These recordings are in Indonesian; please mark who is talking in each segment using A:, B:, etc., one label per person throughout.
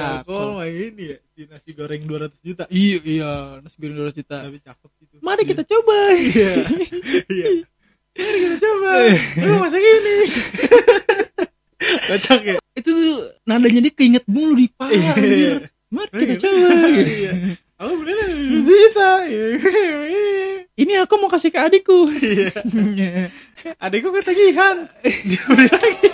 A: Cakol mah ini ya, di nasi goreng 200 juta.
B: Iya, iya, nasi goreng 200 juta.
A: Tapi cakep gitu.
B: Mari
A: Iya.
B: kita coba.
A: Iya. Iya. Mari kita coba.
B: Eh.
A: Lu masak ini. Kocak ya.
B: Itu tuh nadanya dia keinget mulu di kepala.
A: Iya.
B: anjir. Mari kita coba. gitu.
A: Iya. Aku beneran 200 juta. Iya.
B: Ini aku mau kasih ke adikku.
A: Iya. Adikku ketagihan. Dia beli lagi.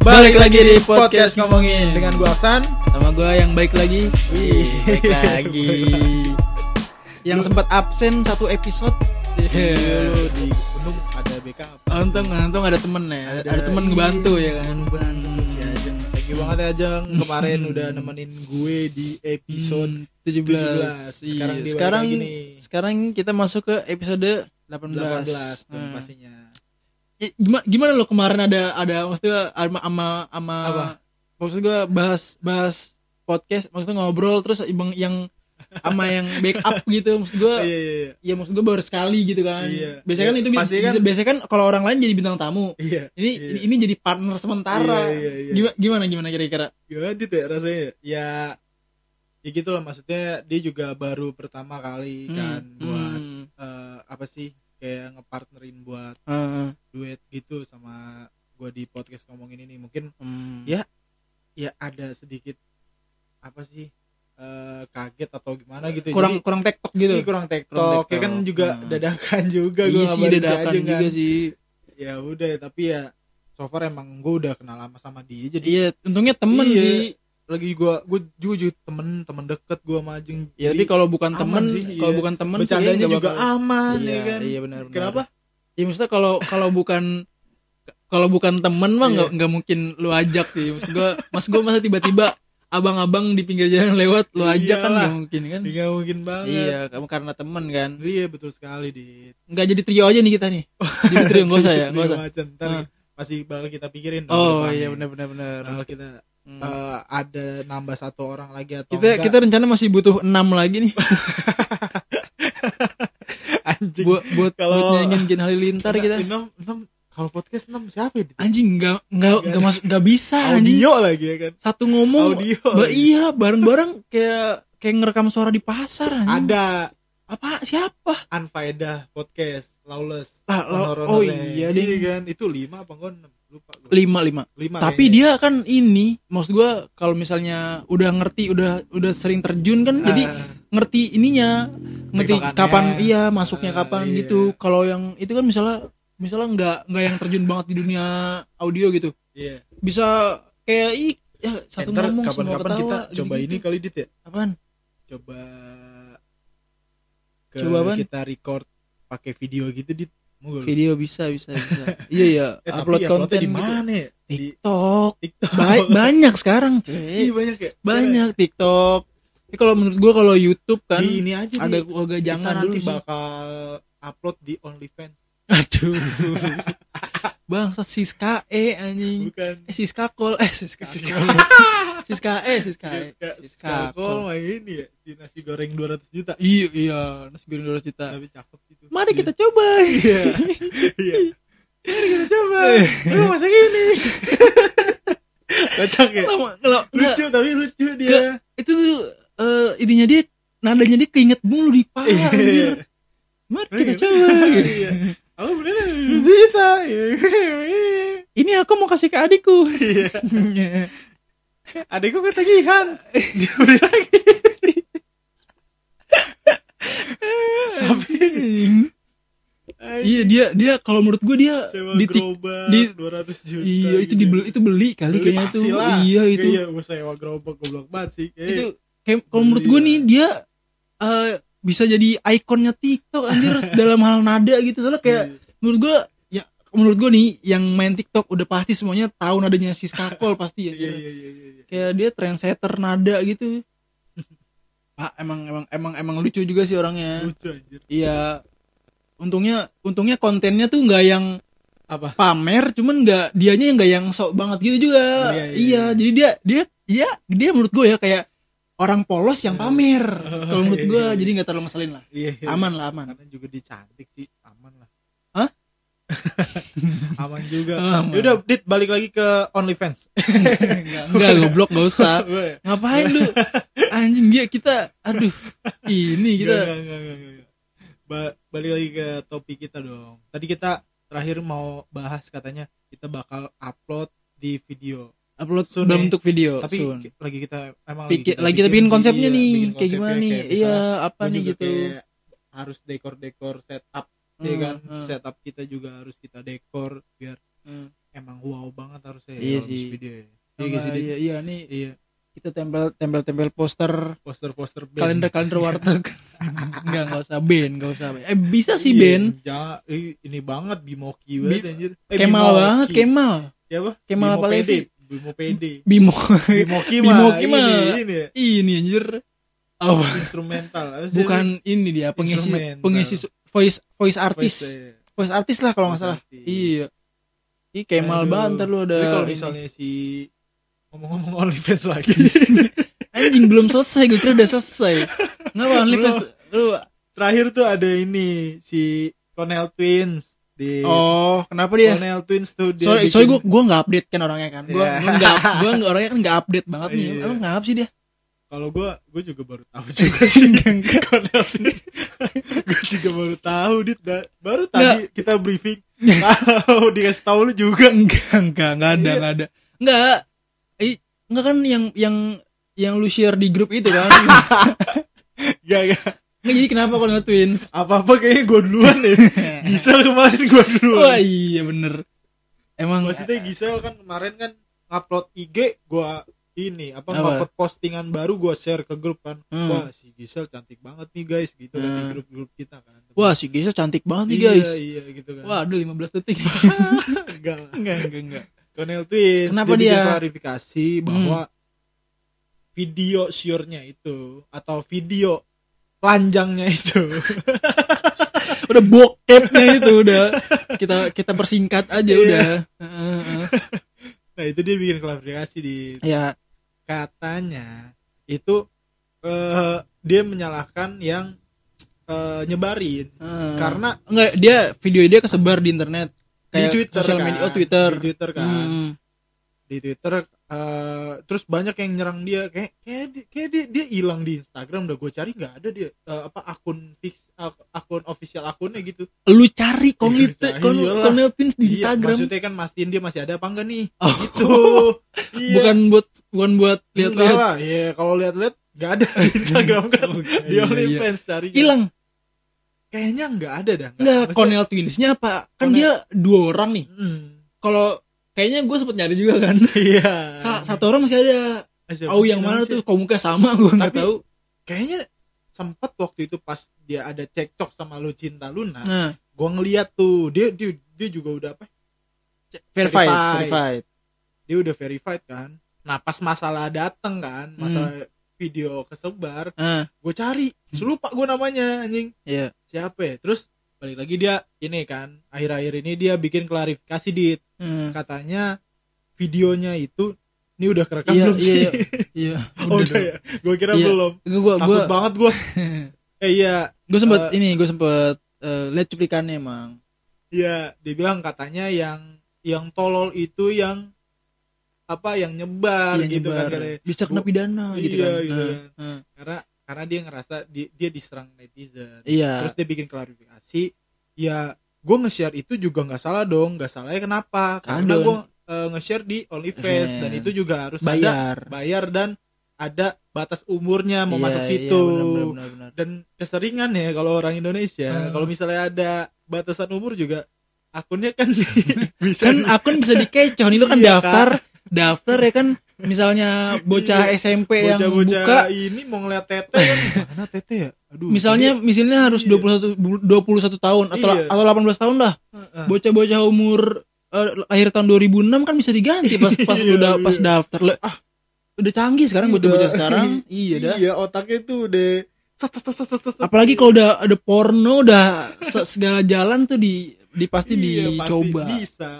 B: Balik lagi di podcast ngomongin
A: dengan gua Aksan.
B: sama gua yang baik lagi.
A: Wih,
B: Baik
A: lagi.
B: lagi. yang sempat absen satu episode. Iya.
A: Dulu Iya. di Gunung ada BK apa?
B: Untung, untung ada temen ya. Ada,
A: Ada- iya.
B: ada temen ngebantu ya kan. Bantu
A: Si Ajeng. Thank you banget ya Ajeng kemarin
B: Hmm.
A: udah nemenin gue di episode
B: 17.
A: 17.
B: Iya.
A: Sekarang dia balik
B: sekarang
A: lagi nih.
B: sekarang kita masuk ke episode 18.
A: 18 tuh
B: Nah.
A: pastinya.
B: Eh, gimana gimana lo kemarin ada ada maksudnya ama ama ama
A: Apa?
B: maksud gua bahas bahas podcast maksudnya ngobrol terus ibang yang ama yang backup gitu maksud gua
A: Iya iya iya.
B: ya maksud gua baru sekali gitu kan
A: Iya.
B: biasanya kan
A: Iya,
B: itu bi-
A: pasti kan-
B: bisa- biasanya kan kalau orang lain jadi bintang tamu
A: Iya.
B: ini
A: Iya.
B: ini, ini jadi partner sementara
A: Iya, iya, iya.
B: Gima- gimana gimana kira-kira
A: Gimana Dit ya rasanya? Ya ya gitu lah maksudnya dia juga baru pertama kali kan
B: Hmm,
A: buat
B: hmm.
A: eh, apa sih kayak ngepartnerin buat
B: Ah,
A: duet gitu sama gue di podcast ngomongin ini mungkin
B: hmm.
A: Ya. ya ada sedikit apa sih eh, kaget atau gimana gitu ya.
B: kurang
A: Jadi, Iya,
B: kurang tektok gitu
A: Ini kurang
B: Kurang
A: tektok
B: tektok.
A: ya kan juga
B: Nah.
A: dadakan juga gue
B: iya sih dadakan
A: kan.
B: juga sih
A: ya udah tapi ya so far emang gue udah kenal lama sama dia jadi
B: iya untungnya temen
A: Iya.
B: sih
A: lagi gue gue juga, juga temen temen deket gue sama Ajeng
B: ya tapi kalau bukan
A: aman
B: temen
A: sih,
B: kalau
A: iya.
B: bukan temen sih
A: bercandanya
B: nggak
A: juga
B: bakal-
A: aman
B: iya,
A: ya kan
B: iya benar benar.
A: kenapa
B: ya maksudnya kalau kalau bukan kalau bukan temen mah
A: Iya.
B: nggak nggak mungkin lu ajak sih maksud gua mas gua masa tiba-tiba abang-abang di pinggir jalan lewat lu ajak kan
A: Iyalah.
B: nggak mungkin kan
A: nggak mungkin banget
B: iya kamu karena temen kan
A: iya betul sekali dit
B: nggak jadi trio aja nih kita nih jadi trio nggak usah ya nggak usah
A: Macam, ntar
B: Ah.
A: pasti bakal kita pikirin dong
B: oh
A: depannya.
B: iya benar benar benar
A: bakal kita
B: Hmm.
A: eh, ada nambah satu orang lagi atau
B: kita
A: enggak.
B: kita rencana masih butuh enam lagi nih
A: anjing
B: buat buat
A: Kalau-
B: buat nyanyiin Gen Halilintar
A: Enam-
B: kita
A: enam enam kalau podcast enam siapa ya, Dit?
B: anjing nggak nggak
A: Nggak
B: nggak masuk nggak bisa Ah, anjing
A: audio lagi ya kan
B: satu ngomong
A: audio
B: Ba-
A: lagi.
B: iya bareng-bareng kayak kayak ngerekam suara di pasar anjing.
A: ada
B: apa siapa
A: Anfaedah podcast Lawless
B: Ah, lo-
A: Honor
B: oh
A: Honornya.
B: iya
A: Iya
B: dia
A: kan itu lima apa enggak enam lupa gua.
B: lima lima
A: lima iya.
B: tapi dia kan ini maksud gua kalau misalnya udah ngerti udah udah sering terjun kan jadi
A: Ah.
B: ngerti ininya ngerti
A: Tektokannya.
B: kapan iya masuknya
A: Ah,
B: kapan
A: iya.
B: gitu kalau yang itu kan misalnya misalnya nggak nggak yang terjun banget di dunia audio gitu
A: iya
B: bisa kayak ih ya, satu
A: Enter,
B: ngomong semua
A: kapan-kapan
B: ketawa
A: kita coba
B: gitu-gitu.
A: ini kali dit ya
B: apaan
A: coba ke
B: Coba apaan?
A: kita record pakai video gitu dit mau gak lu?
B: video bisa bisa bisa iya iya
A: eh, tapi
B: upload
A: uploadnya
B: konten
A: di
B: gitu.
A: mana ya di
B: TikTok
A: TikTok
B: Ba- banyak sekarang
A: Iya
B: cek
A: banyak ya
B: banyak TikTok Tapi kalau menurut gua kalau YouTube
A: Sekarang
B: kan
A: di ini aja
B: agak
A: Dit.
B: agak
A: Kita
B: jangan dulu
A: nanti
B: sih.
A: bakal upload di OnlyFans
B: aduh bangsat Siska E anjing
A: bukan
B: eh Siska Kol eh Siska
A: Siska.
B: Siska E Siska E
A: Siska-
B: Siska
A: Siska
B: Kol.
A: Kol mah ini ya di nasi goreng 200 juta
B: iya iya nasi goreng 200 juta
A: tapi cakep gitu
B: mari
A: Iya.
B: kita coba
A: Iya. Iya. Eh. kita coba. Lu masak ini. Kocak ya.
B: lama kalau nggak,
A: Lucu tapi lucu dia.
B: itu tuh eh, idenya dia nadanya dia keinget mulu di kepala
A: Iya.
B: anjir mari kita coba gitu.
A: Iya. Aku beneran cerita.
B: ini aku mau kasih ke adikku
A: Iya. Adikku ketagihan. Dia beli lagi.
B: iya dia dia kalau menurut gue dia
A: Sewa
B: di tik-
A: gerobak
B: di-
A: 200 juta.
B: iya itu
A: gitu.
B: dibeli itu beli kali
A: Beli
B: kayaknya
A: pasti
B: tuh
A: lah.
B: iya itu
A: Iya, gua sewa gerobak goblok banget sih. Eh,
B: itu kayak kalau menurut gue
A: Beli,
B: nih dia eh, bisa jadi ikonnya TikTok anjir dalam hal nada gitu soalnya kayak menurut gue ya menurut gue nih yang main TikTok udah pasti semuanya tahu nadanya si Skakol pasti ya
A: iya iya iya iya. iya.
B: kayak dia trendsetter nada gitu Pak emang emang emang emang lucu juga sih orangnya
A: Lucu anjir.
B: Iya. Untungnya untungnya kontennya tuh nggak yang
A: Apa?
B: pamer, cuman nggak dianya yang nggak yang sok banget gitu juga. Iya,
A: Iya, iya, iya.
B: jadi dia dia dia dia menurut gue ya kayak orang polos yang pamer. Kalau menurut gue
A: iya, iya.
B: jadi nggak terlalu ngeselin lah.
A: Iya. iya.
B: Aman lah, aman.
A: karena juga dia cantik sih aman lah
B: Hah?
A: aman juga
B: Aman.
A: yaudah dit balik lagi ke OnlyFans
B: Enggak goblok gak usah Ngapain lu Anjing dia kita Aduh Ini
A: Enggak,
B: kita
A: Iya, enggak, enggak, enggak, enggak. Ba- balik lagi ke topik kita dong tadi kita terakhir mau bahas katanya kita bakal upload di video
B: upload
A: Soon
B: dalam
A: nih.
B: bentuk video
A: tapi
B: soon.
A: ki- lagi kita emang
B: Pikir,
A: kita
B: lagi kita bikin
A: sih,
B: konsepnya
A: iya,
B: nih
A: bikin
B: kayak
A: konsepnya,
B: gimana nih
A: kayak
B: iya
A: misalnya
B: apa
A: gua
B: nih
A: juga
B: gitu Hmm,
A: kayak harus dekor-dekor setup ya kan setup kita juga harus kita dekor biar emang wow banget harusnya ya
B: Iya
A: kalau
B: sih.
A: di video ya. Iya
B: Iya,
A: gak sih, Dit?
B: iya, iya nih
A: Iya,
B: kita tempel tempel tempel poster
A: poster-poster band.
B: kalender kalender warteg enggak enggak usah Ben enggak usah Ben. eh bisa sih
A: Iya,
B: Ben
A: jangan- ih, ini banget Bimoki banget
B: Bi-
A: anjir. Eh,
B: Kemal
A: Bimoki.
B: banget Kemal
A: Siapa?
B: Kemal
A: Iya Bimo
B: apa
A: PD.
B: Levi
A: Bimo PD.
B: Bimo
A: Bimoki mah.
B: Bimoki mah.
A: Ini, ini ya,
B: ini anjir oh
A: instrumental. Harusnya
B: bukan ini dia pengisi
A: Instrumental.
B: pengisi su- voice voice
A: voice,
B: artis
A: eh,
B: voice artis lah kalau nggak
A: voice
B: salah
A: artis.
B: iya Ih, Kemal
A: Aduh.
B: banget ntar lu ada
A: Tapi kalau
B: ini.
A: misalnya si ngomong-ngomong OnlyFans lagi,
B: anjing belum selesai gue kira udah selesai ngapa OnlyFans lu
A: terakhir tuh ada ini si Cornell Twins di
B: oh kenapa dia
A: Cornell Twins tuh dia
B: sorry
A: bikin-
B: sorry gue gue nggak update kan orangnya kan gue
A: Iya.
B: gue nggak gue nggak- orangnya kan nggak update banget nih
A: Iya.
B: emang ngapa sih dia
A: kalau gue gue juga baru tahu juga sih Cornell Twins gue juga baru tahu dit Ba- baru tadi kita briefing tahu dikasih tahu lu juga
B: enggak enggak enggak ada
A: Iya.
B: enggak ada enggak eh, enggak kan yang yang yang lu share di grup itu kan
A: gak gak
B: Nggak, jadi kenapa kalau nggak twins
A: apa apa kayaknya gue duluan ya Gisel kemarin gue
B: oh
A: duluan
B: iya bener emang
A: maksudnya Gisel kan kemarin kan upload IG gue ini apa,
B: Apa?
A: upload postingan baru gue share ke grup kan
B: Hmm.
A: wah si Gisel cantik banget nih guys gitu kan di
B: Hmm.
A: grup-grup kita kan
B: wah si Gesa cantik banget nih
A: Iya,
B: guys
A: iya gitu kan
B: wah aduh 15 detik
A: enggak lah.
B: enggak enggak enggak
A: Cornel Twins
B: Kenapa
A: bikin
B: dia? Hmm.
A: klarifikasi bahwa video sure-nya itu atau video telanjangnya itu
B: udah bokepnya itu udah kita kita persingkat aja
A: Iya.
B: udah Heeh, heeh.
A: nah itu dia bikin klarifikasi di
B: ya
A: katanya itu eh, dia menyalahkan yang eh, nyebarin
B: heeh.
A: karena
B: enggak dia video dia kesebar di internet
A: di Twitter
B: sosial
A: kan
B: media oh Twitter
A: di Twitter kan
B: Hmm.
A: di Twitter eh, terus banyak yang nyerang dia kayak kayak di- kayak dia dia hilang di Instagram udah gue cari nggak ada dia Eh, apa akun fix ak- akun official akunnya gitu
B: lu cari Cornel
A: Iya,
B: Cornel
A: iyalah.
B: Cornel Pins di
A: Iya,
B: Instagram
A: maksudnya kan mastiin dia masih ada apa enggak nih
B: Oh.
A: gitu Iya.
B: bukan buat bukan buat
A: Enggak
B: lihat-lihat
A: lah Iya, kalau lihat-lihat nggak ada di Instagram kan di
B: Iya,
A: OnlyFans cari
B: hilang
A: kayaknya nggak ada dah
B: enggak
A: Maksudnya-
B: Cornel Twinsnya apa kan
A: Cornel-
B: dia dua orang nih
A: Hmm.
B: kalau kayaknya gue sempet nyari juga kan
A: iya
B: Sa- satu orang masih ada
A: Siapa
B: oh
A: sih
B: yang mana
A: namanya?
B: tuh kok muka sama gue nggak
A: Tapi-
B: tahu
A: kayaknya sempat waktu itu pas dia ada cekcok sama Lucinta Luna
B: nah
A: gua ngeliat tuh dia dia dia juga udah apa
B: verified
A: Verified.
B: verified
A: dia udah verified kan nah pas masalah dateng kan
B: Hmm.
A: masalah video kesebar
B: ah
A: gue cari Terus lupa gue namanya anjing
B: iya
A: siapa ya terus balik lagi dia ini kan akhir-akhir ini dia bikin klarifikasi di
B: Hmm.
A: katanya videonya itu ini udah kerekam
B: iya,
A: belum
B: iya,
A: sih
B: iya, iya.
A: Oh, udah ya gue kira
B: Iya.
A: belum
B: Gue
A: takut
B: gue
A: banget gue eh iya
B: gue sempet
A: Eh,
B: ini gue sempet eh, lihat cuplikannya emang.
A: Iya, dia bilang katanya yang yang tolol itu yang apa yang nyebar
B: Iya,
A: gitu kan
B: nyebar.
A: katanya.
B: bisa kena
A: Bu-
B: pidana gitu
A: iya,
B: kan.
A: gitu
B: Eh,
A: kan.
B: eh.
A: Karena karena dia ngerasa di- dia diserang netizen.
B: Iya.
A: Terus dia bikin klarifikasi, ya gue nge-share itu juga nggak salah dong, nggak salahnya kenapa? Karena
B: Karena
A: gue eh, nge-share di OnlyFans dan
B: Fans.
A: itu juga harus ada
B: Eh. bayar.
A: bayar dan ada batas umurnya mau
B: Iya,
A: masuk
B: iya,
A: situ
B: benar, benar, benar, benar.
A: dan keseringan ya kalau orang Indonesia
B: Hmm.
A: kalau misalnya ada batasan umur juga akunnya kan bisa
B: Kan akun bisa dikecoh nih lu kan
A: Iya,
B: daftar, daftar ya kan misalnya bocah
A: Iya.
B: SMP yang
A: bocah-bocah
B: buka
A: ini mau ngeliat tete kan mana tete ya aduh
B: misalnya misalnya harus
A: Iya.
B: 21 bu- 21 tahun atau
A: Iya.
B: atau 18 tahun lah.
A: Heeh.
B: Bocah-bocah umur eh, lahir tahun 2006 kan bisa diganti pas pas
A: Iya,
B: udah pas
A: iya.
B: daftar. Lah, ah, udah canggih sekarang
A: Udah.
B: bocah-bocah sekarang. Iya dah.
A: iya otaknya tuh udah set, set, set, set, set, set.
B: apalagi kalau udah ada porno udah se- segala jalan tuh di di pasti
A: Iya,
B: dicoba
A: pasti bisa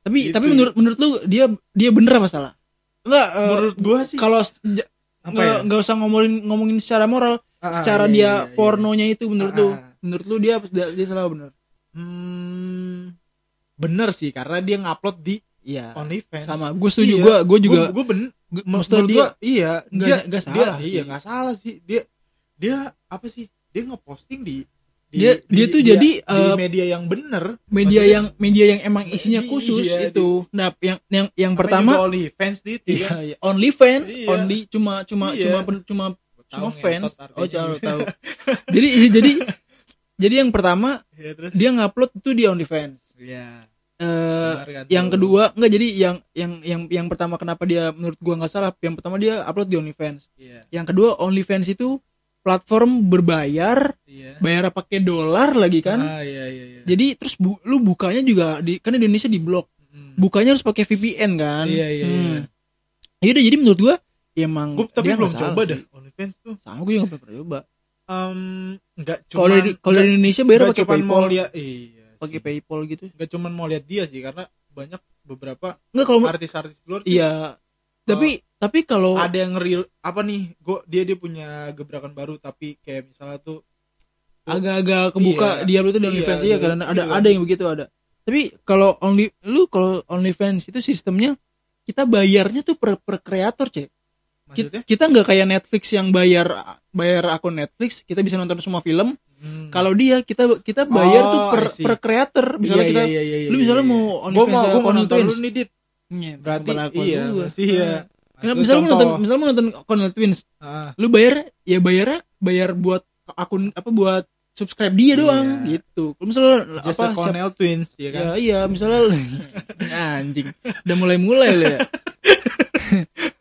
B: tapi
A: Gitu.
B: tapi menurut menurut lu dia dia bener apa salah ya. enggak eh,
A: menurut gua sih
B: kalau se- ja-
A: apa ya?
B: nggak nggak usah ngomongin ngomongin secara moral
A: Ah,
B: secara
A: iya,
B: dia
A: iya, iya.
B: pornonya itu menurut
A: Ah,
B: lu
A: ah.
B: menurut lu dia dia salah bener
A: hmm, bener sih karena dia ngupload di
B: Iya.
A: OnlyFans
B: Sama gue setuju
A: Iya.
B: gue gue juga
A: gue ben
B: gue,
A: me-
B: maksudnya
A: menurut
B: dia
A: gua, iya
B: nggak-
A: dia
B: nggak
A: dia-
B: salah sih.
A: iya nggak salah sih dia dia apa sih dia ngeposting di, di
B: Dia- dia
A: di-
B: tuh jadi,
A: di
B: eh,
A: media yang bener
B: media
A: maksudnya-
B: yang media yang emang isinya
A: Di-
B: khusus
A: iya,
B: itu. Nah, yang yang yang
A: Namanya
B: pertama
A: juga OnlyFans gitu kan? di itu
B: Iya, iya. Only fans,
A: Iya.
B: only cuma cuma
A: Iya.
B: cuma pen- cuma cuma fans. Oh, tahu
A: jauh
B: tahu. jadi iya, jadi jadi yang pertama
A: ya terus
B: dia ngupload itu di OnlyFans.
A: ya
B: Eh
A: sebarkan
B: yang
A: tuh.
B: kedua enggak jadi yang yang yang yang pertama kenapa dia menurut gua nggak salah yang pertama dia upload di OnlyFans
A: iya
B: yang kedua OnlyFans itu platform berbayar
A: iya
B: bayar pakai dolar lagi kan
A: ah, iya iya iya
B: jadi terus bu- lu bukanya juga di kan di Indonesia di blok
A: Mm.
B: bukanya harus pakai VPN kan
A: Iya, iya,
B: Hmm. Ya udah jadi menurut gua ya emang
A: gue tapi
B: dia nggak
A: belum
B: salah
A: coba
B: sih.
A: dah OnlyFans tuh
B: sama gue juga nggak pernah coba
A: Em, nggak cuma
B: kalau di kalau di Indonesia bayar pakai
A: mau
B: PayPal
A: lihat iya
B: pakai
A: sih.
B: PayPal gitu
A: nggak cuman mau lihat dia sih karena banyak beberapa
B: nggak kalau
A: artis-artis luar tuh
B: iya tapi tapi kalau
A: Oh. ada yang real apa nih gua dia dia punya gebrakan baru tapi kayak misalnya tuh
B: agak-agak kebuka
A: Iya.
B: dia lu tuh di
A: Iya,
B: OnlyFans
A: iya,
B: ya karena ada
A: iya.
B: ada yang begitu ada tapi kalau only lu kalau OnlyFans itu sistemnya kita bayarnya tuh per per kreator cek
A: maksudnya
B: Ki- kita nggak kayak Netflix yang bayar bayar akun Netflix kita bisa nonton semua film
A: Hmm.
B: kalau dia kita kita bayar
A: Oh,
B: tuh per
A: I see.
B: per creator misalnya
A: Iya,
B: kita
A: iya, iya, iya,
B: lu
A: iya,
B: misalnya
A: iya.
B: mau
A: gua
B: OnlyFans
A: mau
B: sama
A: gua mau nonton
B: OnlyFans.
A: lu nih dit
B: Nyet,
A: berarti
B: kepala aku
A: iya
B: juga.
A: masih iya
B: Nah, Nah, misalnya lu nonton, misalnya lu nonton Connell Twins,
A: Ah,
B: lu bayar ya bayar bayar buat akun apa buat subscribe dia
A: Iya.
B: doang gitu. Kalau misalnya
A: Just
B: apa
A: a Cornell Twins ya
B: siap-
A: kan Ya,
B: ya, iya, misalnya lu- anjing, udah mulai-mulai lah ya.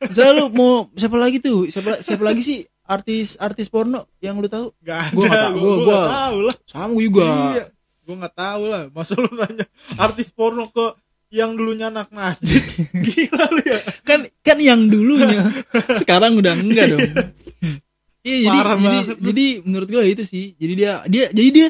B: misalnya lu mau siapa lagi tuh? Siapa siapa lagi sih artis artis porno yang lu tahu?
A: Gak
B: Gua
A: ada,
B: nggak tahu,
A: gua,
B: gua-
A: gua nggak
B: gua-
A: tahu lah.
B: Sama gue juga.
A: Iya, gua nggak tahu lah. Masa lu nanya artis porno ke yang dulunya anak masjid? Gila lu ya.
B: kan kan yang dulunya sekarang udah enggak dong iya jadi
A: Parah
B: jadi,
A: banget lu.
B: jadi menurut gue itu sih jadi dia dia jadi dia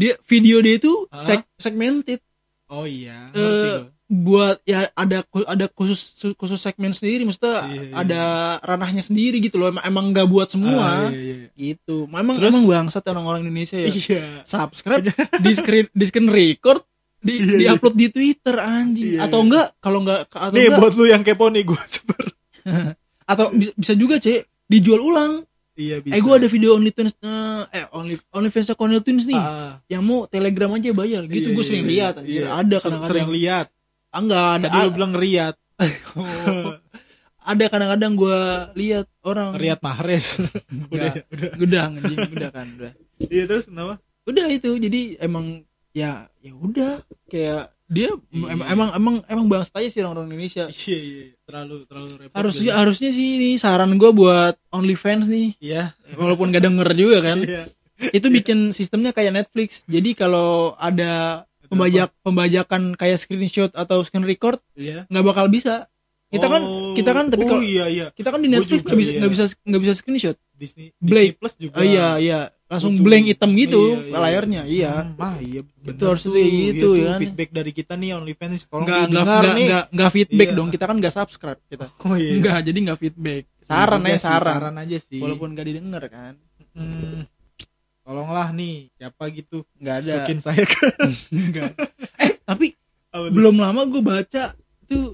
B: dia video dia itu
A: Hah?
B: seg- segmented
A: Oh iya.
B: Eh, buat ya ada ku- ada khusus khusus segmen sendiri maksudnya
A: Iya, iya.
B: ada ranahnya sendiri gitu loh emang emang nggak buat semua
A: iya, iya.
B: gitu emang
A: Terus-
B: emang bangsat orang-orang Indonesia ya
A: Iya.
B: subscribe di screen di screen record di,
A: Iya,
B: di
A: iya.
B: upload di Twitter anjing
A: Iya,
B: atau
A: iya.
B: enggak kalau enggak atau
A: Nih
B: enggak-
A: buat lu yang kepo nih gua sebar.
B: atau bi- bisa juga cek dijual ulang
A: Iya bisa.
B: eh gue ada video only twins eh, eh only only fans Cornel twins nih
A: Ah.
B: yang mau telegram aja bayar
A: Iya,
B: gitu gue Ah, sering lihat anjir. ada kadang-kadang
A: Sering lihat.
B: Ah, enggak ada
A: Tadi lu bilang ngeriat. Oh.
B: ada kadang-kadang gue lihat orang
A: Ngeriat Mahrez. udah,
B: Enggak.
A: udah.
B: gedang anjing udah kan udah
A: Iya terus kenapa?
B: udah itu jadi emang ya ya udah kayak dia
A: Iya.
B: emang emang emang emang bangsa aja sih orang-orang Indonesia
A: Iya iya. Terlalu terlalu repot.
B: harusnya
A: gitu.
B: harusnya sih ini saran gue buat OnlyFans nih
A: Iya.
B: walaupun gak denger juga kan
A: Iya.
B: itu bikin sistemnya kayak Netflix. Jadi kalau ada pembajak pembajakan kayak screenshot atau screen record
A: Iya.
B: nggak bakal bisa. Kita kan
A: Oh.
B: kita kan tapi
A: Oh,
B: kalau
A: iya iya.
B: kita kan di
A: Gua
B: Netflix
A: juga,
B: nggak bisa
A: iya.
B: nggak bisa nggak bisa screenshot.
A: Disney,
B: Blade.
A: Disney Plus juga.
B: Oh iya iya langsung
A: Betul.
B: blank hitam gitu
A: Iya, iya.
B: layarnya. Iya.
A: Hmm, ah, iya
B: Itu harus kayak gitu, ya kan?
A: Feedback dari kita nih OnlyFans tolong
B: Nggak nggak
A: didengar
B: nggak
A: nih.
B: nggak- nggak feedback
A: Iya.
B: dong. Kita kan nggak subscribe kita.
A: Oh iya.
B: Nggak jadi nggak feedback.
A: Iya
B: Saran
A: juga
B: ya
A: sih,
B: saran.
A: Saran aja sih.
B: Walaupun nggak didengar kan.
A: Hmm, tolonglah nih siapa gitu
B: Nggak ada.
A: masukin saya ke
B: Nggak. eh tapi
A: apa tuh?
B: belum lama gue baca tuh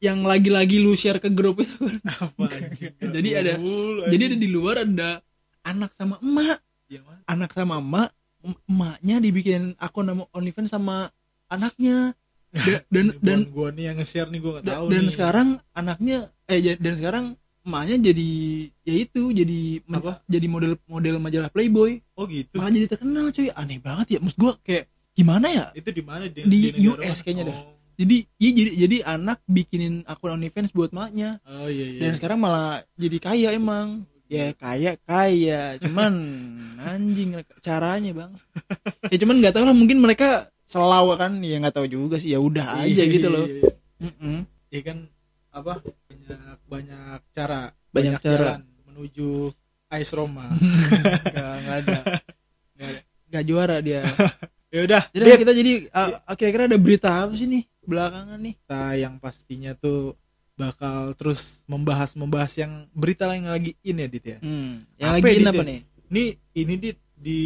B: yang lagi-lagi lu share ke grup itu
A: Apa, anjing?
B: Jadi ada-
A: Mulu,
B: jadi ada
A: anjing. Iya,
B: di luar ada anak sama emak
A: Yang mana?
B: anak sama emak em- emaknya dibikin akun nama OnlyFans sama anaknya Da- dan
A: Ini
B: dan
A: bukan gua nih yang nge-share nih gua gak
B: da-
A: tahu
B: dan
A: nih.
B: sekarang anaknya eh ja- dan sekarang emaknya jadi ya itu jadi men-
A: Apa?
B: jadi model model majalah Playboy
A: oh gitu.
B: malah jadi terkenal cuy aneh banget ya maksud gua kayak gimana ya
A: Itu di mana di,
B: Di
A: negara
B: US
A: mana?
B: kayaknya
A: oh.
B: dah. jadi iya jadi jadi anak bikinin akun OnlyFans buat emaknya
A: Oh iya iya.
B: dan sekarang malah jadi kaya emang ya kaya kaya cuman anjing caranya bang ya cuman nggak tahu lah mungkin mereka selaw kan ya nggak tahu juga sih ya udah aja
A: Iya,
B: gitu
A: iya,
B: loh
A: iya.
B: Mm-mm.
A: Iya kan apa banyak banyak cara
B: Banyak cara.
A: jalan menuju Ais Roma.
B: nggak nggak ada Nggak ada. nggak juara dia
A: ya udah,
B: jadi
A: Dit.
B: kita jadi uh, kira-kira ada berita apa sih nih belakangan nih
A: kita yang pastinya tuh bakal terus membahas membahas yang berita yang lagi in ya Dit ya.
B: hmm. yang
A: Apa
B: lagi
A: ya,
B: ini
A: Dit,
B: apa
A: ya?
B: nih
A: Ini ini Dit di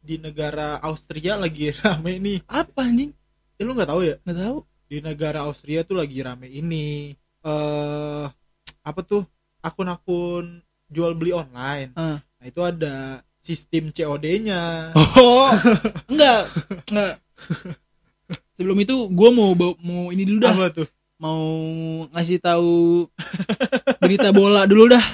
A: di negara Austria lagi rame nih
B: apa anjing
A: ya lu nggak tahu ya
B: nggak tahu
A: di negara Austria tuh lagi rame ini eh apa tuh akun-akun jual beli online
B: Ah.
A: nah itu ada sistem COD-nya
B: Oh, enggak, enggak. Sebelum itu gue mau bau- mau ini dulu dah,
A: apa tuh
B: mau ngasih tahu berita bola dulu dah.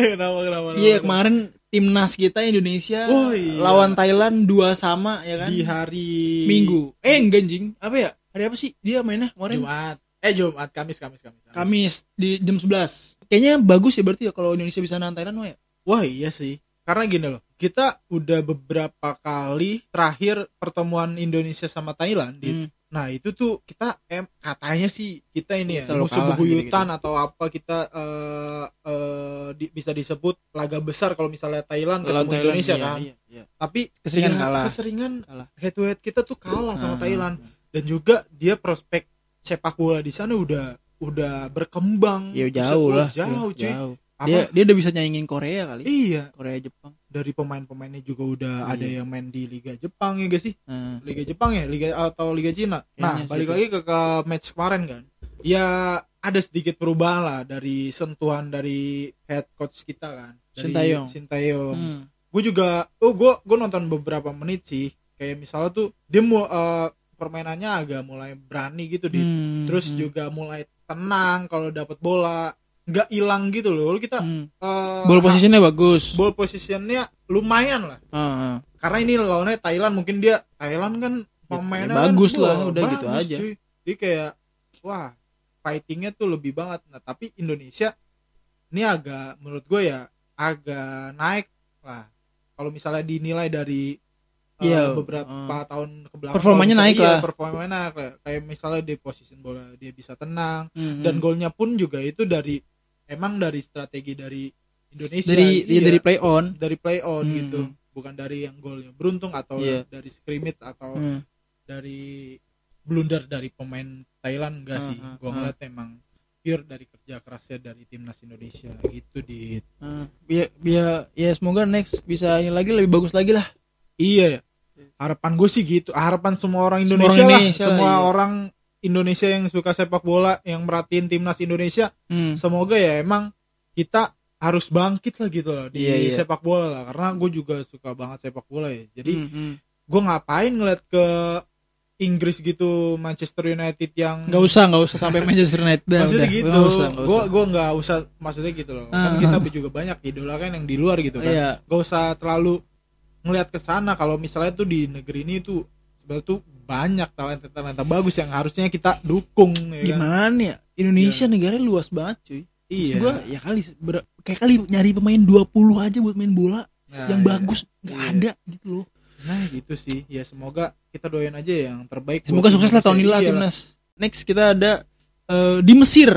A: kenapa kenapa
B: Iya
A: kenapa?
B: kemarin timnas kita Indonesia
A: Oh, iya.
B: lawan Thailand dua sama ya kan?
A: di hari
B: Minggu. Eh enggak anjing, apa ya? Hari apa sih dia mainnya kemarin?
A: Jumat eh Jumat Kamis Kamis Kamis, Kamis.
B: Kamis di jam 11 Kayaknya bagus ya berarti ya kalau Indonesia bisa nahan Thailand mah ya.
A: Wah iya sih. Karena gini loh, kita udah beberapa kali terakhir pertemuan Indonesia sama Thailand. Dit.
B: Hmm.
A: Nah itu tuh kita em katanya sih kita ini ya
B: Selalu
A: musuh
B: kalah gitu,
A: bebuyutan atau apa kita eh, eh, di- bisa disebut laga besar kalau misalnya Thailand ketemu Indonesia
B: iya,
A: kan.
B: iya, iya.
A: Tapi
B: Keseringan
A: ya,
B: kalah.
A: Keseringan
B: Kalah.
A: head to head kita tuh kalah
B: Ah.
A: sama Thailand dan juga dia prospek sepak bola di sana udah udah berkembang.
B: Ya
A: Buset,
B: jauh
A: wah,
B: lah.
A: Jauh cuy.
B: Jauh.
A: Apa?
B: Dia dia udah bisa nyaingin Korea kali.
A: Iya,
B: Korea Jepang.
A: dari pemain-pemainnya juga udah
B: Iya.
A: ada yang main di Liga Jepang ya guys sih
B: Nah,
A: Liga Jepang ya Liga atau Liga Cina
B: Kayaknya
A: nah
B: sih
A: balik
B: itu.
A: lagi ke, ke match kemarin kan ya ada sedikit perubahan lah dari sentuhan dari head coach kita kan dari
B: Sintayong.
A: Sintayong
B: hmm.
A: gue juga oh gue gue nonton beberapa menit sih kayak misalnya tuh dia mau eh, permainannya agak mulai berani gitu di
B: Hmm,
A: terus
B: hmm,
A: juga mulai tenang kalau dapat bola nggak hilang gitu loh kita
B: hmm.
A: eh,
B: Ball posisinya bagus.
A: ball positionnya lumayan lah
B: Ah, ah.
A: karena ini lawannya Thailand mungkin dia Thailand kan pemainnya
B: Ya,
A: kan,
B: bagus lah,
A: wah,
B: udah gitu aja.
A: cuy. Dia kayak wah fightingnya tuh lebih banget. Nah tapi Indonesia ini agak menurut gue ya agak naik lah. Kalau misalnya dinilai dari eh,
B: Iya,
A: beberapa tahun kebelakang
B: Performanya
A: kalau
B: naik
A: misalnya-
B: lah.
A: iya, performanya naik lah. Kayak misalnya di position bola dia bisa tenang
B: Hmm,
A: dan
B: hmm.
A: golnya pun juga itu dari emang dari strategi dari Indonesia
B: dari
A: Iya
B: ya, dari play on.
A: dari play on
B: Hmm.
A: gitu bukan dari yang golnya beruntung atau
B: Iya.
A: dari scrimmage atau
B: Hmm.
A: dari blunder dari pemain Thailand enggak
B: Ah,
A: sih
B: ah,
A: gua
B: ah.
A: ngeliat emang pure dari kerja kerasnya dari timnas Indonesia gitu di
B: Ah, biar biar ya semoga next bisa ini lagi lebih bagus lagi lah.
A: iya ya harapan gue sih gitu harapan semua orang
B: Semua
A: Indonesia,
B: orang
A: lah
B: Indonesia,
A: semua
B: iya.
A: orang Indonesia yang suka sepak bola yang merhatiin timnas Indonesia
B: Hmm.
A: semoga ya emang kita harus bangkit lah gitu loh di
B: Iya, iya.
A: sepak bola lah karena gue juga suka banget sepak bola ya jadi
B: Hmm, hmm.
A: gue ngapain ngeliat ke Inggris gitu Manchester United yang
B: Nggak usah nggak usah sampai Manchester United. Dah,
A: maksudnya
B: udah.
A: gitu
B: Nggak usah, nggak
A: gue
B: usah.
A: gue nggak usah maksudnya gitu loh kan
B: Ah.
A: kita juga banyak idola kan yang di luar gitu kan
B: Iya.
A: gak usah terlalu ngelihat ke sana kalau misalnya tuh di negeri ini tuh sebenarnya tuh banyak talenta talenta bagus yang harusnya kita dukung ya kan?
B: Gimana ya? Indonesia negaranya luas banget cuy.
A: iya
B: Gua ya kali ber- kayak kali nyari pemain 20 aja buat main bola
A: Nah,
B: yang
A: iya.
B: bagus nggak
A: Iya.
B: ada gitu loh.
A: nah gitu sih ya semoga kita doain aja yang terbaik
B: Semoga
A: buat
B: sukses lah tahun ini lah nah.
A: Indonesia. Iya lah.
B: timnas. Next kita ada eh, di Mesir.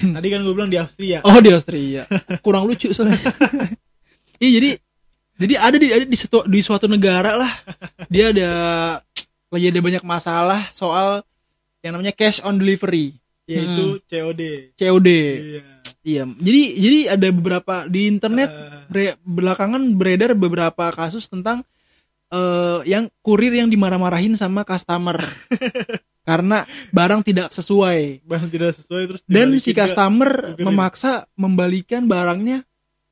A: tadi kan gue bilang di Austria
B: Oh di Austria. Kurang lucu soalnya. Iya jadi jadi ada di ada di suatu di suatu negara lah dia ada lagi ada banyak masalah soal yang namanya cash on delivery Hmm.
A: yaitu COD
B: COD.
A: iya
B: Iya. Jadi jadi ada beberapa di internet
A: Eh,
B: bre- belakangan beredar beberapa kasus tentang eh, yang kurir yang dimarah-marahin sama customer karena barang tidak sesuai.
A: barang tidak sesuai terus
B: dan
A: dibalikin
B: si
A: ke-
B: customer
A: kurir.
B: memaksa membalikan barangnya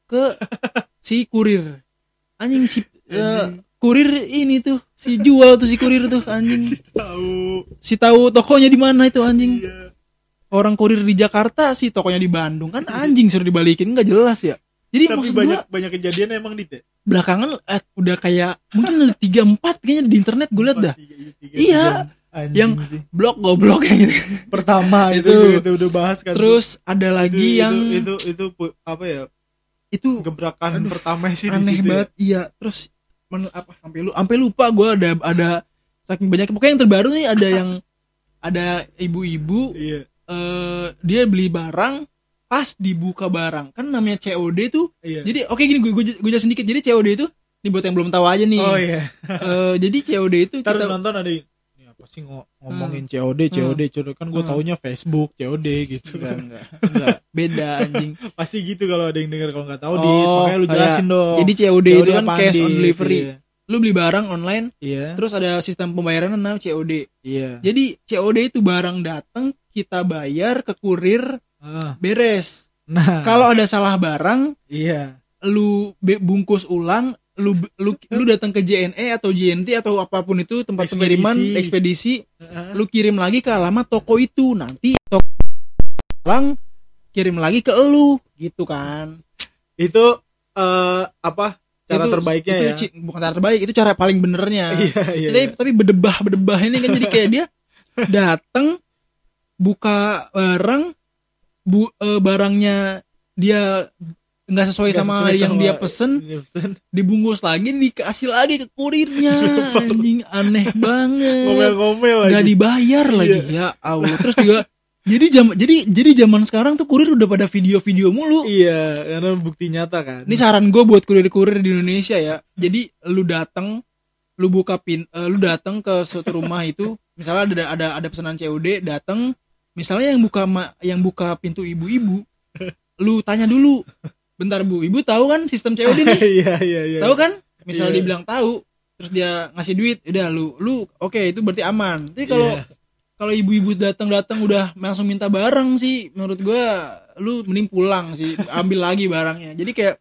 B: ke si kurir anjing si eh,
A: Anjing.
B: kurir ini tuh si jual tuh si kurir tuh anjing
A: tahu
B: si tahu tokonya di mana itu anjing
A: iya
B: orang kurir di Jakarta si tokonya di Bandung kan anjing suruh dibalikin nggak jelas ya jadi
A: tapi
B: maksud
A: banyak
B: gua
A: banyak kejadian emang di teh
B: belakangan eh, udah kayak mungkin tiga empat kayaknya di internet gue liat dah
A: Empat, tiga, tiga,
B: Iya.
A: tiga. Anjing
B: Yang-
A: sih.
B: blok goblok kayak gitu
A: pertama itu,
B: Itu.
A: itu udah bahas kan
B: terus ada
A: Itu-
B: lagi
A: itu-
B: yang
A: itu, itu pu- apa ya
B: itu
A: gebrakan
B: Aduh,
A: pertama sih di
B: aneh
A: situ ya.
B: banget iya terus men- apa sampai lu sampai lupa gue ada ada saking banyak pokoknya yang terbaru nih ada yang ada ibu-ibu
A: iya
B: eh dia beli barang pas dibuka barang kan namanya COD tuh
A: iya
B: jadi oke gini gue gue jelasin dikit jadi COD itu ini buat yang belum tahu aja nih
A: oh iya
B: Eh, jadi COD itu
A: ntar
B: kita
A: nonton ada yang, ini apa sih ngo- ngomongin COD COD COD kan gue
B: Hmm.
A: taunya Facebook COD gitu
B: enggak, enggak, enggak. beda anjing
A: pasti gitu kalau ada yang denger kalau nggak tahu
B: Iya. Oh,
A: di makanya lu
B: kayak-
A: jelasin dong
B: jadi COD, itu kan
A: apaan,
B: cash on
A: Dit?
B: delivery
A: Iya.
B: lu beli barang online
A: iya
B: terus ada sistem pembayaran namanya COD
A: iya
B: jadi COD itu barang datang kita bayar ke kurir
A: Ah,
B: beres
A: nah
B: kalau ada salah barang
A: iya
B: lu be- bungkus ulang lu lu lu datang ke JNE atau JNT atau apapun itu tempat
A: Ekspedisi.
B: pengiriman ekspedisi
A: Heeh.
B: lu kirim lagi ke alamat toko itu nanti toko ulang kirim lagi ke lu gitu kan
A: itu eh, apa cara
B: Itu-
A: terbaiknya
B: itu
A: ya
B: ci- bukan cara terbaik itu cara paling benernya
A: iya iya
B: tapi, tapi bedebah bedebah ini kan jadi kayak dia datang buka barang bu eh, barangnya dia nggak sesuai
A: Nggak
B: sama
A: sesuai
B: yang
A: sama-
B: dia pesen
A: Iya, pesen.
B: dibungkus lagi dikasih lagi ke kurirnya anjing aneh banget
A: ngomel-ngomel lagi
B: Hmm.
A: Iya.
B: nggak dibayar lagi ya allah terus juga jadi jam jadi jadi zaman sekarang tuh kurir udah pada video-video mulu
A: iya karena bukti nyata kan
B: ini saran gue buat kurir-kurir di Indonesia ya jadi lu datang lu buka pin eh, lu datang ke suatu rumah itu misalnya ada ada ada pesanan COD datang misalnya yang buka ma- yang buka pintu ibu-ibu lu tanya dulu bentar bu ibu tahu kan sistem COD nih
A: iya iya iya
B: tahu kan misalnya
A: Iya.
B: dia bilang tahu terus dia ngasih duit udah lu lu oke itu berarti aman tapi kalau
A: Iya.
B: kalau ibu-ibu datang datang udah langsung minta barang sih menurut gua lu mending pulang sih ambil lagi barangnya jadi kayak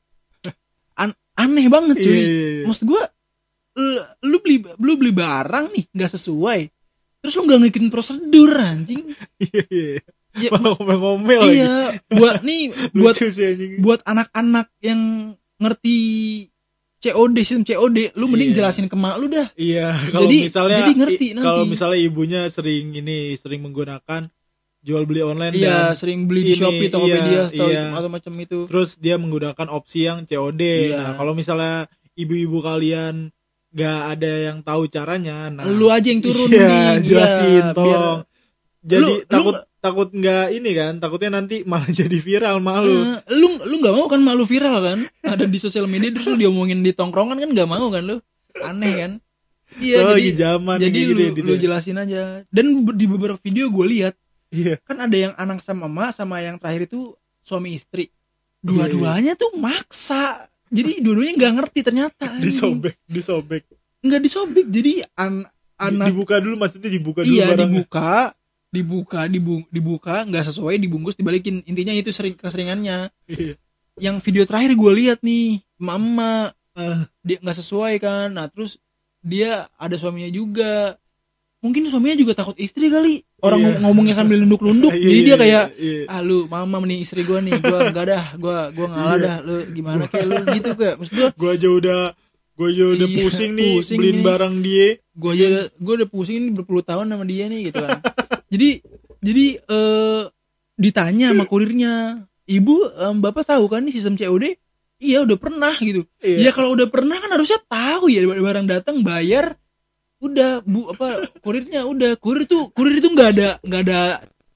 B: an- aneh banget
A: Iya,
B: cuy
A: iya, iya.
B: maksud gua lu, lu beli lu beli barang nih nggak sesuai terus lu nggak ngikutin prosedur anjing
A: Iya, iya.
B: Ya,
A: malah ngomel-ngomel lagi
B: iya buat nih buat
A: Oh, lucu sih anjing
B: buat anak-anak yang ngerti COD sistem COD lu mending
A: Iya.
B: jelasin ke mak lu dah
A: Iya, kalau
B: Jadi-
A: misalnya
B: jadi ngerti
A: i- kalau
B: nanti.
A: misalnya ibunya sering ini sering menggunakan jual beli online
B: iya
A: dan
B: sering beli di
A: ini,
B: Shopee Tokopedia
A: iya,
B: atau
A: iya.
B: atau macam itu
A: terus dia menggunakan opsi yang COD.
B: Iya.
A: Nah, kalau misalnya ibu-ibu kalian nggak ada yang tahu caranya, nah
B: lu aja yang turun
A: iya,
B: nih
A: jelasin
B: Iya,
A: tolong.
B: biar-
A: Jadi
B: Lu- lu
A: takut takut nggak ini kan, takutnya nanti malah jadi viral malu.
B: Eh, lu lu nggak mau kan malu viral kan ada di sosial media terus lu diomongin di tongkrongan kan nggak mau kan lu aneh kan iya
A: Soalnya lagi
B: jadi
A: zaman
B: jadi
A: yang
B: lu,
A: kayak gitu,
B: lu
A: ya.
B: jelasin aja dan be- di beberapa video gue lihat
A: Iya.
B: kan ada yang anak sama emak sama yang terakhir itu suami istri
A: Iya,
B: dua-duanya tuh maksa jadi dua-duanya nggak ngerti ternyata anjing.
A: disobek, disobek.
B: nggak disobek jadi an anak
A: Dibuka dulu maksudnya dibuka dulu
B: iya
A: barangnya.
B: dibuka dibuka dibu- dibuka nggak sesuai dibungkus dibalikin intinya itu sering keseringannya
A: Iya.
B: yang video terakhir gue lihat nih mama
A: Ah.
B: dia nggak sesuai kan nah terus dia ada suaminya juga mungkin suaminya juga takut istri kali orang
A: Iya.
B: ngom- ngomongnya sambil nunduk-nunduk
A: Iya,
B: jadi
A: iya,
B: dia kayak
A: iya, iya.
B: ah lu mama nih istri gua nih gua enggak dah gua gua ngalah
A: Iya.
B: dah lu gimana kayak lu gitu kayak maksud gua
A: gue aja udah gue aja udah
B: Iya,
A: pusing nih
B: pusing
A: beliin
B: nih.
A: barang dia Iya.
B: gua aja gua udah pusing ini berpuluh tahun sama dia nih gitu kan jadi jadi eh ditanya sama kurirnya ibu em, bapak tahu kan nih sistem COD iya udah pernah gitu
A: Iya.
B: ya kalau udah pernah kan harusnya tahu ya barang datang bayar udah bu apa kurirnya udah kurir tuh kurir itu nggak ada nggak ada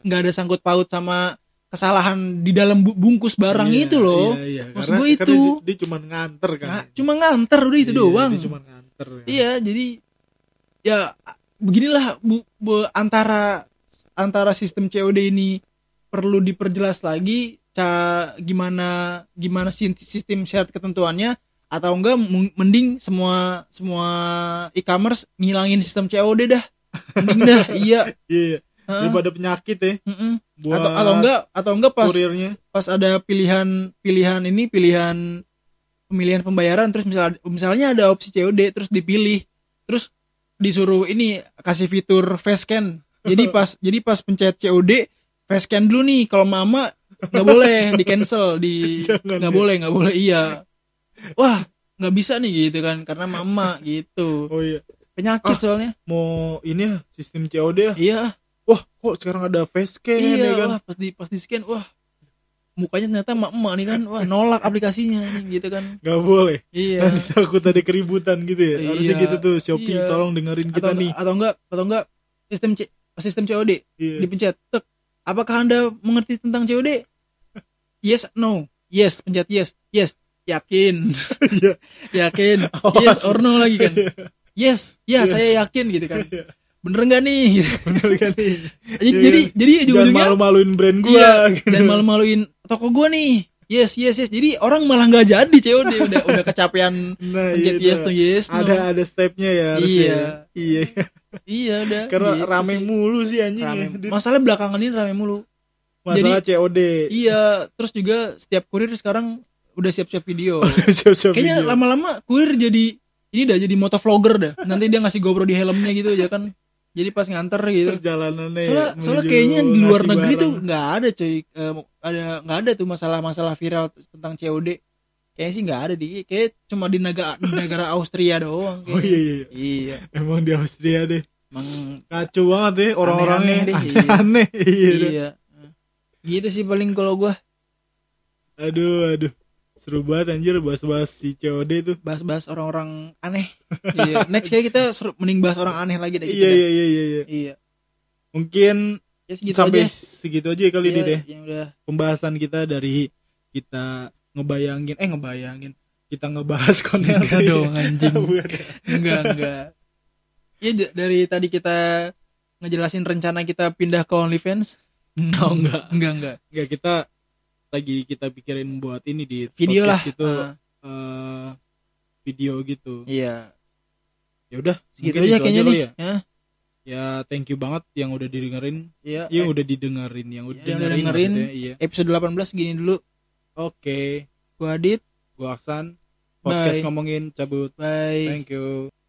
B: nggak ada sangkut paut sama kesalahan di dalam bu- bungkus barang
A: Iya,
B: itu loh
A: iya, iya.
B: Maksud
A: Karena-
B: gua
A: karena
B: itu.
A: dia, dia cuma nganter kan
B: Nah, cuma nganter udah itu
A: Iya,
B: doang.
A: dia cuma nganter kan.
B: Iya, jadi ya beginilah bu, bu- antara antara sistem COD ini perlu diperjelas lagi ca gimana gimana sin- sistem syarat ketentuannya atau enggak mu- mending semua semua e-commerce ngilangin sistem COD dah. Mending dah, iya.
A: Iya, iya.
B: Heeh,
A: daripada penyakit ya
B: mm-mm.
A: buat
B: atau atau enggak atau enggak pas
A: kurirnya
B: pas ada pilihan pilihan ini pilihan pemilihan pembayaran terus misalnya misalnya ada opsi COD terus dipilih terus disuruh ini kasih fitur face scan jadi pas jadi pas pencet COD face scan dulu nih kalau mama nggak boleh di cancel di Iya,
A: Jangan,
B: nggak
A: ya.
B: boleh nggak boleh iya wah nggak bisa nih gitu kan karena mama gitu
A: oh iya
B: penyakit soalnya
A: mau ini ya sistem COD ya
B: iya
A: wah kok sekarang ada facecam
B: iya
A: ya kan
B: wah pas di pas di scan wah mukanya ternyata emak emak nih kan wah nolak aplikasinya nih, gitu kan
A: nggak boleh
B: iya
A: nanti takut ada keributan gitu ya harusnya
B: Iya.
A: gitu tuh Shopee
B: Iya.
A: tolong dengerin
B: atau,
A: kita nih
B: atau enggak atau enggak sistem C, sistem COD
A: Iya.
B: dipencet tek apakah anda mengerti tentang COD yes no yes pencet yes yes yakin
A: Iya. Oh,
B: yakin yes
A: Awas.
B: or no lagi kan yes ya saya yakin gitu kan
A: Iya.
B: bener nggak nih gitu.
A: Bener kan nih?
B: jadi
A: Iya,
B: jadi jadi
A: jangan
B: ujung-ujungnya
A: malu-maluin brand
B: iya,
A: gua gitu.
B: jangan malu-maluin toko gua nih yes yes yes jadi orang malah nggak jadi COD udah udah kecapean
A: Nah,
B: pencet
A: itu.
B: yes no yes no.
A: ada ada stepnya ya harusnya.
B: Iya.
A: Iya.
B: iya udah
A: Karena
B: gitu
A: rame
B: sih.
A: mulu sih anjing.
B: Rame.
A: ya. Di-
B: masalah belakangan ini rame mulu
A: Masalah COD.
B: iya terus juga setiap kurir sekarang udah siap-siap video
A: Siap-siap
B: kayaknya
A: video.
B: lama-lama kurir jadi ini dah jadi motovlogger dah nanti dia ngasih GoPro di helmnya gitu ya kan jadi pas nganter gitu soalnya,
A: perjalanannya. eh, menuju
B: soalnya kayaknya di luar
A: ngasih
B: negeri tuh
A: barang.
B: nggak ada cuy Eh, ada nggak ada tuh masalah-masalah viral tentang COD kayaknya sih nggak ada di kayak cuma di negara di negara Austria doang
A: Oh iya
B: kayaknya.
A: iya.
B: iya
A: Emang di Austria deh.
B: emang
A: Kacau banget deh orang-orangnya.
B: Aneh-aneh deh, iya.
A: Aneh. Iya. deh.
B: iya gitu sih paling kalau gua
A: Aduh aduh. Seru banget anjir bahas-bahas si COD tuh.
B: bahas-bahas orang-orang aneh iya next kali kita seru, mending bahas orang aneh lagi deh gitu
A: Iya
B: dah.
A: iya iya iya. iya.
B: iya
A: Mungkin
B: ya segitu
A: sampai
B: aja
A: segitu aja kali ini
B: Iya,
A: deh
B: ya udah
A: pembahasan kita dari kita ngebayangin eh ngebayangin kita ngebahas konten Iya.
B: Enggak dong anjing
A: Bukan.
B: Enggak, enggak. Ya d- dari tadi kita ngejelasin rencana kita pindah ke OnlyFans. Hmm.
A: Oh, enggak.
B: Enggak, enggak.
A: Enggak kita lagi kita pikirin buat ini di
B: Video lah.
A: podcast gitu
B: Ah,
A: eh, video gitu.
B: iya.
A: Ya udah,
B: Segitu
A: mungkin
B: aja
A: itu
B: kayaknya
A: kali
B: nih.
A: Ya.
B: Hah?
A: ya, thank you banget yang udah didengerin.
B: Iya.
A: Iya,
B: eh,
A: udah didengerin, yang udah
B: Iya, yang udah
A: dengerin.
B: dengerin.
A: maksudnya, Iya.
B: Episode 18 gini dulu.
A: Oke,
B: Gua Adit.
A: gua Aksan. Podcast
B: Bye.
A: ngomongin cabut.
B: Bye.
A: Thank you.